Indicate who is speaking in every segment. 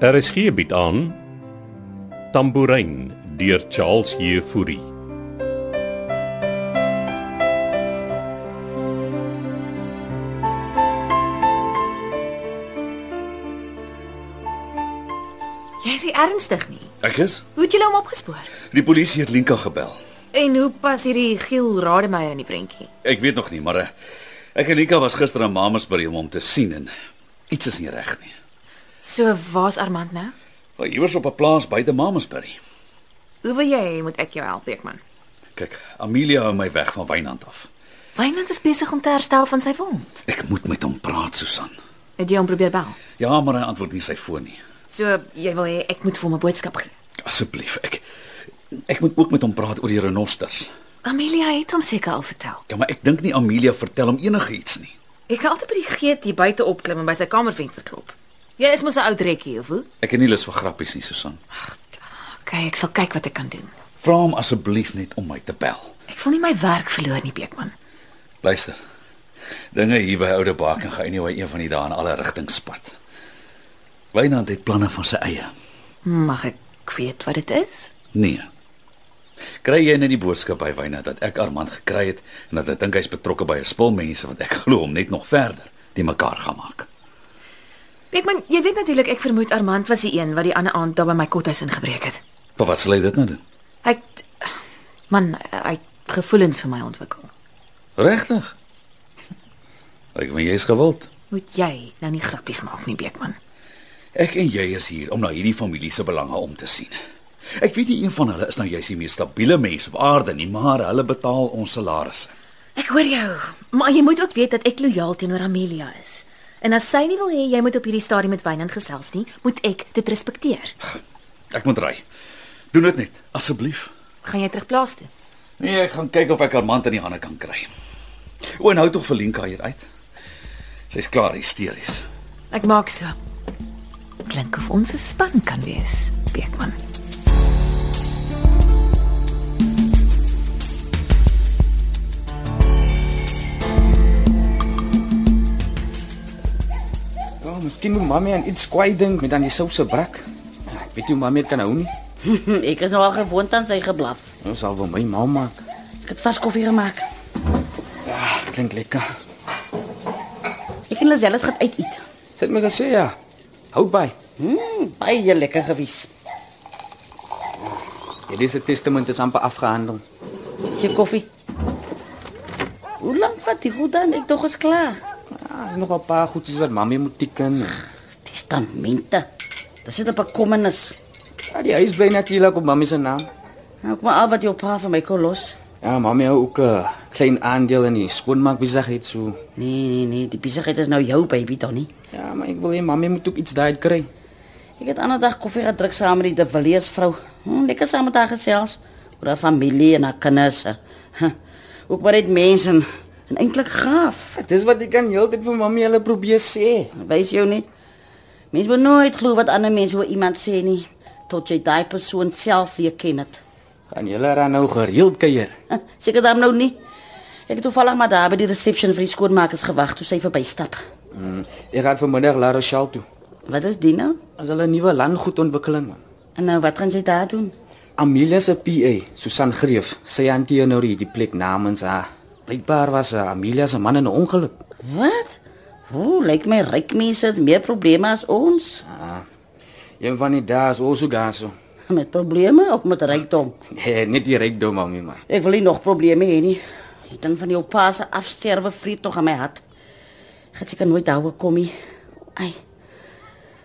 Speaker 1: RSG bied Er aan Tambourin deur Charles Heffury.
Speaker 2: Jy is nie ernstig nie.
Speaker 3: Ek is.
Speaker 2: Hoe het julle hom opgespoor?
Speaker 3: Die polisie het Linka gebel.
Speaker 2: En hoe pas hierdie Giel Rademeier in die prentjie?
Speaker 3: Ek weet nog nie, maar eh, ek en Linka was gister aan Mamasbury om hom te sien en iets is nie reg nie.
Speaker 2: So waar's Armand nou?
Speaker 3: Maar iewers op 'n plaas buite Mamasbury.
Speaker 2: Hoe wil jy moet ek jou help, Beekman?
Speaker 3: Kyk, Amelia hou my weg van Wynand af.
Speaker 2: Wynand is besig om te herstel van sy wond.
Speaker 3: Ek moet met hom praat, Susan.
Speaker 2: Het jy hom probeer bel?
Speaker 3: Ja, maar hy antwoord nie sy foon nie.
Speaker 2: So jy wil hê ek moet vir hom 'n boodskap gee.
Speaker 3: Asseblief, ek ek moet ook met hom praat oor die renosters.
Speaker 2: Amelia het hom seker al vertel.
Speaker 3: Ja, maar ek dink nie Amelia vertel hom enigiets nie.
Speaker 2: Ek kan altyd by die geet hier buite opklim en by sy kamervenster klop. Jy is mos 'n ou trekkie of hoe?
Speaker 3: Ek het nie lus vir grappies nie, Susan.
Speaker 2: Okay, ek sal kyk wat ek kan doen.
Speaker 3: Vra hom asseblief net om my te bel.
Speaker 2: Ek wil nie my werk verloor nie, Beekman.
Speaker 3: Luister. Dinge hier by Oude Baak en gaan anyway een van die dae in alle rigtings spat. Wynand het planne van sy eie.
Speaker 2: Mag ek weet wat dit is?
Speaker 3: Nee. Kry jy net die boodskap by Wynand dat ek Armand gekry het en dat hy dink hy's betrokke by 'n spul mense wat ek glo hom net nog verder die mekaar gaan maak.
Speaker 2: Beekman, jy weet natuurlik ek vermoed Armand was die een wat die ander aand daar by my kothuis ingebreek het.
Speaker 3: Maar wat sal hy dit nou doen?
Speaker 2: Hy het, man, hy het gevoelens vir my ontwikkel.
Speaker 3: Regtig? Ek meen jy's gewild.
Speaker 2: Moet jy nou nie grappies maak nie, Beekman.
Speaker 3: Ek en jy is hier om na hierdie familie se belange om te sien. Ek weet nie een van hulle is nou juis die mees stabiele mense op aarde nie, maar hulle betaal ons salarisse.
Speaker 2: Ek hoor jou, maar jy moet ook weet dat ek lojaal teenoor Amelia is. En as sy nie wil hê jy moet op hierdie stadium met Wynand gesels nie, moet ek dit respekteer.
Speaker 3: Ek moet ry. Doen dit net, asseblief.
Speaker 2: Gaan jy terug plaas toe?
Speaker 3: Nee, ek gaan kyk of ek Armand in die hande kan kry. O, en hou tog vir Lenka hier uit. Sy's klaar hysteries.
Speaker 2: Ek maak so. Klink of ons 'n span kan wees, Beekman.
Speaker 4: Ja, miskien moet mami aan iets kwaai dink met aan die souse brak. Ah, Ek weet nie hoe mami dit kan hou nie.
Speaker 5: Ek Hm, is nogal gewoond aan sy geblaf.
Speaker 4: Ons sal wel my ma maak.
Speaker 5: Ek het vas koffie gemaak.
Speaker 4: Ja, klink lekker.
Speaker 5: Ek en Lazelle het gaan uit eet.
Speaker 4: Sy het my gesê ja. Hou by.
Speaker 5: Mm, baie lekker gewees.
Speaker 4: Hierdie se testament is amper afgehandel.
Speaker 5: Sy koffie. Hoe lank vat die goed dan? Ek dog is klaar.
Speaker 4: Ja, is nog 'n paar goedjies wat mami moet teken.
Speaker 5: Testamente. Dit sit op 'n kommenis.
Speaker 4: Ja, die huis bly natuurlik op mami se naam.
Speaker 5: Nou kom maar al wat jou pa vir my kon los.
Speaker 4: Ja, mami hou ook 'n klein aandeel in die skoonmaakbesigheid so.
Speaker 5: Nee, nee, nee, die besigheid is nou jou baby, Donnie.
Speaker 4: Ja, maar ek wil hê mami moet ook iets daai kry.
Speaker 5: Ek het ander dag koffie gedrink saam met die De Villiers vrou. Hm, lekker saam met haar gesels oor haar familie en haar kinders. Huh, Ook maar net mense en, en eintlik gaaf.
Speaker 4: Dis wat ek kan heeltyd vir mami hulle probeer sê.
Speaker 5: Wys jou net. Mens moet nooit glo wat ander mense oor iemand sê nie tot jy daai persoon self leer ken dit.
Speaker 4: Gaan julle dan nou gereeld kuier?
Speaker 5: Seker dan nou nie. Ek het toevallig maar daar by die reception vir die skoonmakers gewag toe sy verbystap.
Speaker 4: Mm, ek gaan vanmiddag La Rochelle toe.
Speaker 5: Wat is dit nou?
Speaker 4: As hulle 'n nuwe landgoedontwikkeling man.
Speaker 5: En nou wat gaan sy daar doen?
Speaker 4: Amelia se PA, Susan Greef, sy hanteer nou hierdie plek namens haar. Blykbaar was eh, Amelia se man in 'n ongeluk.
Speaker 5: Wat? Ooh, lyk my ryk mense het meer probleme as ons.
Speaker 4: Ah, een van die dae is ons ook daar so.
Speaker 5: Met probleme of met rykdom?
Speaker 4: Nee, net die rykdom mami maar.
Speaker 5: Ek wil nie nog probleme hê nie. Ek dink van jou pa se afsterwe vreet tog aan my hart. Gaan seker nooit daaroor kom nie. Ai.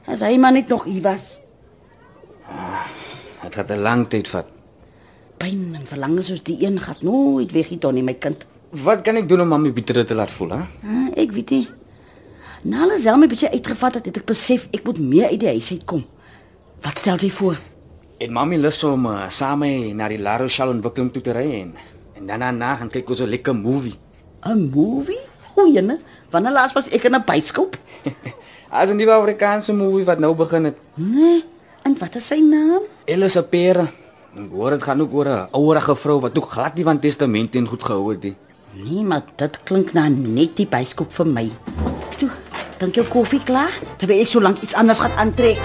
Speaker 5: As hy maar net nog hier was.
Speaker 4: Dit gaan 'n lang tyd vat.
Speaker 5: Pyn en verlange soos die een gaan nooit weg hier dan nie, my kind.
Speaker 4: Wat kan ek doen om mami beter te laat voel, hè?
Speaker 5: Ah, ek weet nie. Nou alles al my bietjie uitgevat het, het ek besef ek moet meer uit die huis uitkom. Wat stel jy voor?
Speaker 4: En mami lus om uh, saam mee na die La Rochelle ontwikkeling toe te ry en en daarna na gaan kyk ons 'n lekker movie.
Speaker 5: 'n Movie? O, jene, wanneer laas was ek in 'n byskoop?
Speaker 4: As 'n nuwe Afrikaanse movie wat nou begin het.
Speaker 5: Nee. En wat is sy naam?
Speaker 4: Ellis se pere. Ek hoor dit gaan ook oor 'n ouerige vrou wat ook glad nie van testamente en goed gehou het nie.
Speaker 5: Nee, maar dit klink na net die byskoop vir my. Toe, dink jou koffie klaar? Terwyl ek so lank iets anders gaan aantrek.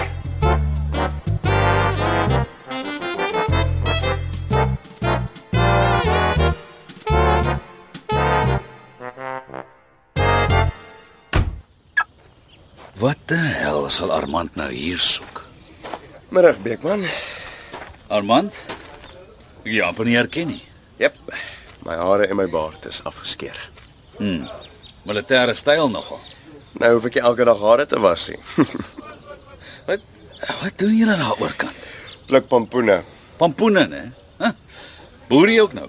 Speaker 3: Wat de hel sal Armand nou hier soek?
Speaker 6: Middag Beekman.
Speaker 3: Armand? Ek het jou Ja, amper nie herken nie.
Speaker 6: Jep. My hare en my baard is afgeskeer.
Speaker 3: Militêre styl nogal.
Speaker 6: Nou hoef ek nie elke dag hare te was nie.
Speaker 3: Wat wat doen julle daar oorkant?
Speaker 6: Pluk pampoene.
Speaker 3: Pampoene, hè? Huh? Boer jy ook nou?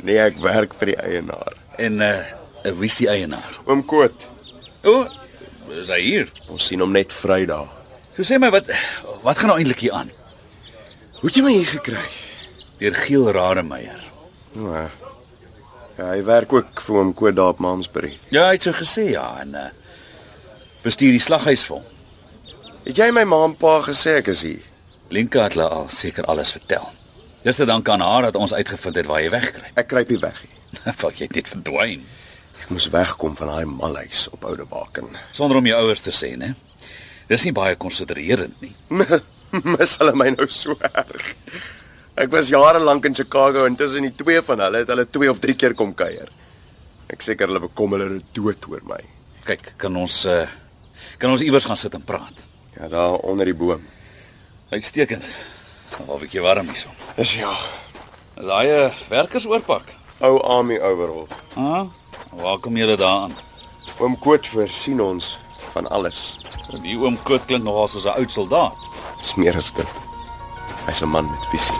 Speaker 6: Nee, ek werk vir die eienaar.
Speaker 3: En uh wie is die eienaar?
Speaker 6: Oom Koot.
Speaker 3: O, is hy hier?
Speaker 6: Ons sien hom net Vrydag.
Speaker 3: So sê my wat wat gaan nou eintlik hier aan?
Speaker 6: Hoe het jy my hier gekry?
Speaker 3: Deur Giel Rademeier.
Speaker 6: O, Ja. Ja, hy werk ook vir oom Koot daar op Mamsbury.
Speaker 3: Ja, hy het so gesê ja en uh bestuur die slaghuis vir hom.
Speaker 6: Het jy my ma en pa gesê ek is hier?
Speaker 3: Lenka het hulle al seker alles vertel. Dis te dank aan haar dat ons uitgevind het waar jy wegkry.
Speaker 6: Ek kruip hier weg. Hier.
Speaker 3: Wat jy het net verdwyn.
Speaker 6: Ek moes wegkom van daai malhuis op Oude Baken.
Speaker 3: Sonder om jou ouers te sê, né? Dis nie baie konsidererend nie.
Speaker 6: Mis hulle my nou so erg. Ek was jare lank in Chicago en tussen die twee van hulle het hulle twee of drie keer kom kuier. Ek seker hulle bekom hulle nou dood oor my.
Speaker 3: Kyk, kan ons uh kan ons iewers gaan sit en praat.
Speaker 6: Ja, daar onder die boom.
Speaker 3: Uitstekend. Of ek jy warm hierso.
Speaker 6: Dis ja,
Speaker 3: Is daai 'n werkersoorpak?
Speaker 6: ou Army overall.
Speaker 3: Ah, waar kom julle daaraan?
Speaker 6: Oom Koot voorsien ons van alles.
Speaker 3: Die oom Koot klink nogal soos 'n oud soldaat.
Speaker 6: Dis meer as dit. Hy's 'n man met visie.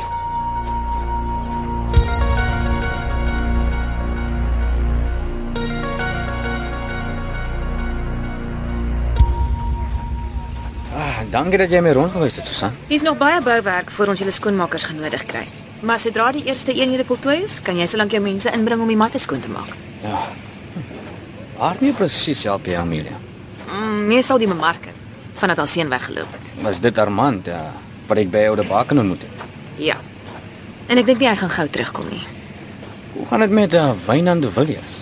Speaker 4: Ah, dankie dat jy my rondgewys het, Susan.
Speaker 2: Hier's nog baie bouwerk voor ons julle skoonmakers genodig kry. Maar sodra die eerste eenhede voltooi is, kan jy solank jou mense inbring om die matte skoon te maak.
Speaker 4: Haar nie presies help jy Amelia.
Speaker 2: Mm, nee, sal die bemarking vandat haar seun weggeloop het.
Speaker 4: Was dit Armand ja, wat ek by jou te baken ontmoet het?
Speaker 2: Ja. En ek dink nie hy gaan gou terugkom nie.
Speaker 4: Hoe gaan dit met uh, Wynand de Villiers?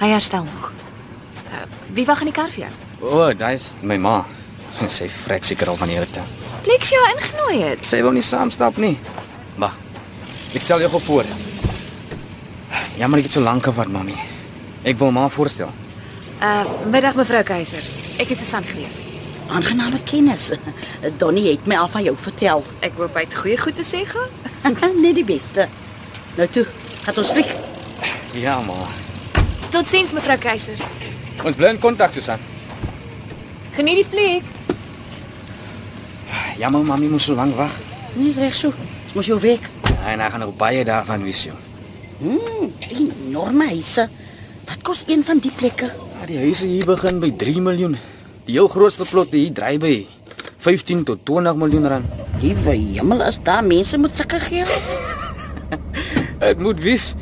Speaker 2: Hy herstel nog. Uh, wie wag in die kar vir jou?
Speaker 4: O, oh, dis my ma. Sy sê vrek seker al van hierdie tyd.
Speaker 2: Plexia ingenooi het.
Speaker 4: Sy wil nie saamstap nie. Wag. Ek stel jou gou voor. Jammer ek het so lank gevat, mami. Ek wil ma voorstel.
Speaker 2: Uh middag mevrou Keiser. Ek is Susan Greef.
Speaker 5: Aangename kennis. Donnie het my al van jou vertel.
Speaker 2: Ek hoop hy het goeie goed te sê gehad.
Speaker 5: Net die beste. Nou toe, gaan ons vlieg.
Speaker 4: Ja, ma.
Speaker 2: Totsiens mevrou Keiser.
Speaker 4: Ons bly in kontak, Susan.
Speaker 2: Geniet die fliek.
Speaker 4: Jammer, mami moes so lank wag.
Speaker 5: Nee, is reg so. Dis mos jou werk.
Speaker 4: En hy gaan nog baie daarvan wys jou.
Speaker 5: Mm, enorme huise. Wat kos een van die plekke?
Speaker 4: Ja, die huise hier begin by 3 miljoen. Die heel grootste plot hier dry by 15 tot 20 miljoen rand.
Speaker 5: Liewe hemel, as daar mense moet sulke geld.
Speaker 4: Dit moet wys.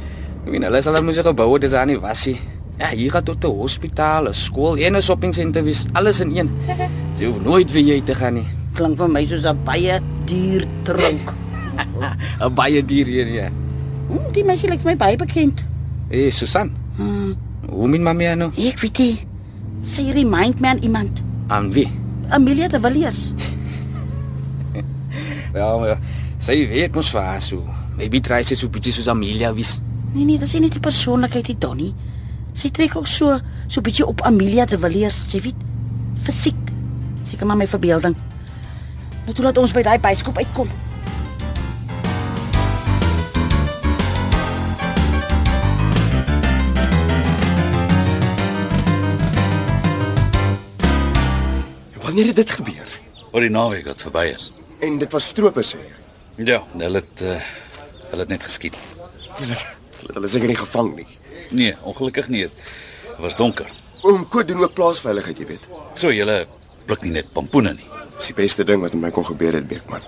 Speaker 4: Ek meen hulle sal dan moes gebou het, dis aan die wasie. Ja, hier gaan tot 'n hospitaal, 'n skool en 'n shoppingsentre wys, alles in een. Jy hoef nooit weer hier te gaan nie.
Speaker 5: Klink vir my soos 'n baie duur tronk.
Speaker 4: 'n Baie duur hier, ja.
Speaker 5: Mm, die meisie lyk vir my baie bekend.
Speaker 4: Hé, hey, Susan. Hoe min mami nou?
Speaker 5: Ek weet nie. Sy remind my aan iemand.
Speaker 4: Aan wie?
Speaker 5: Amelia de Villiers.
Speaker 4: Wel, ja, sy weet mos vir haar so. Maybe try sy so bietjie soos Amelia wys.
Speaker 5: Nee nee, dis nie die persoonlikheid die Donnie. Sy trek ook so so bietjie op Amelia de Villiers, jy weet. Fisiek. Seker maar my verbeelding. Nou toe laat ons by daai byskoop uitkom.
Speaker 6: Wanneer het dit gebeur?
Speaker 3: Oor die naweek wat verby is.
Speaker 6: En dit was strope sê.
Speaker 3: Ja, hulle het uh, hulle het net geskiet.
Speaker 6: Hulle het hulle seker nie gevang nie.
Speaker 3: Nee, ongelukkig nie. Dit was donker.
Speaker 6: Oom Koot doen ook plaasveiligheid, jy weet.
Speaker 3: So julle pluk nie net pampoene nie.
Speaker 6: Dis die beste ding wat met my kon gebeur het, Beekman.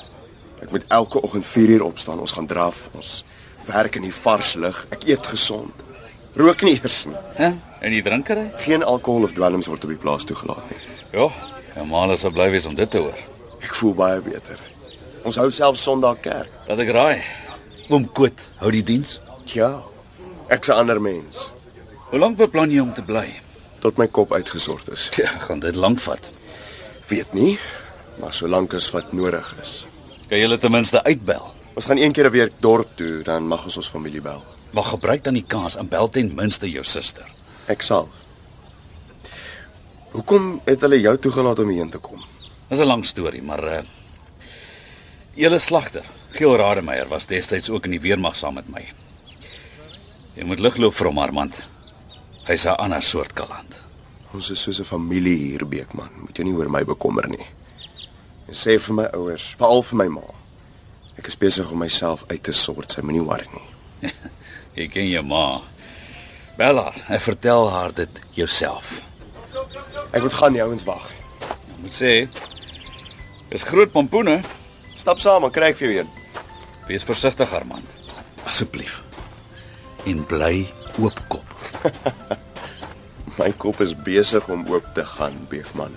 Speaker 6: Ek moet elke oggend 4uur opstaan. Ons gaan draf. Ons werk in die vars lug. Ek eet gesond. Rook nie eers nie.
Speaker 3: Hæ? En die drinkery?
Speaker 6: Geen alkohol of dwelms word op die plaas toegelaat nie.
Speaker 3: Ja, normaal sou bly wees om dit te hoor.
Speaker 6: Ek voel baie beter. Ons hou self Sondag kerk.
Speaker 3: Laat ek raai. Oom Koot hou die diens.
Speaker 6: Ja. Ek's 'n ander mens
Speaker 3: Hoe lank beplan jy om te bly?
Speaker 6: tot my kop uitgesort is.
Speaker 3: Ja, gaan dit lank vat.
Speaker 6: Weet nie, maar solank as wat nodig is.
Speaker 3: Kan jy hulle ten minste uitbel?
Speaker 6: Ons gaan een keer 'n week dorp toe, dan mag ons ons familie bel.
Speaker 3: Maar gebruik dan die kans en bel ten minste jou suster.
Speaker 6: Ek sal. Hoekom het hulle jou toegelaat om hierheen te kom?
Speaker 3: Dis 'n lang storie, maar uh Julle slagter, Giel Rademeier was destyds ook in die weermag saam met my. Jy moet ligloop vir hom, Armand. Hy's 'n ander soort kaland.
Speaker 6: Ons is soos 'n familie hier, Beekman. Moet jou nie oor my bekommer nie. En sê vir my ouers, veral vir my ma. Ek is besig om myself uit te sort. Sy moenie worry nie.
Speaker 3: Jy ken jou ma. Bel haar en vertel haar dit jouself.
Speaker 6: Ek moet gaan, die ouens wag.
Speaker 3: Ek moet sê, dis groot pompoene.
Speaker 6: Stap saam, dan kry ek vir jou een.
Speaker 3: Wees versigtig, Armand. Asseblief. En bly oopkop.
Speaker 6: My kop is besig om oop te gaan, Beekman.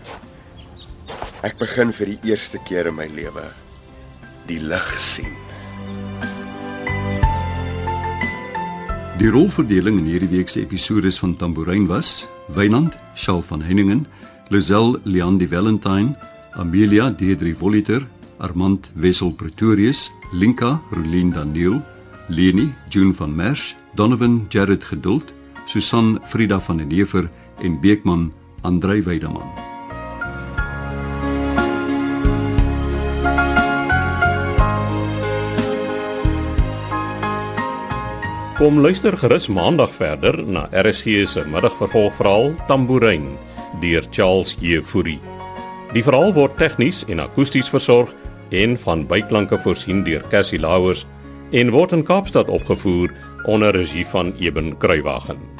Speaker 6: Ek begin vir die eerste keer in my lewe die lig sien.
Speaker 7: Die rolverdeling in hierdie week se episode van Tambourin was: Wynand, Shaal van Henningen, Lozel Leon die Valentine, Amelia Deidre Voliter, Armand Wessel Pretorius, Linka Rolien Daniel, Leni June van Merch, Donovan Jared Geduld, Susan Frida van den Heever en Beekman Andrei Weideman.
Speaker 1: Kom luister gerus maandag verder na RSG se middagvervolgverhaal Tambourine deur Charles Jefouri. Die verhaal word tegnies en akoesties versorg en van byklanke voorsien deur Cassie Lauers en word in Kaapstad opgevoer onder regie van Eben Kruiwagen.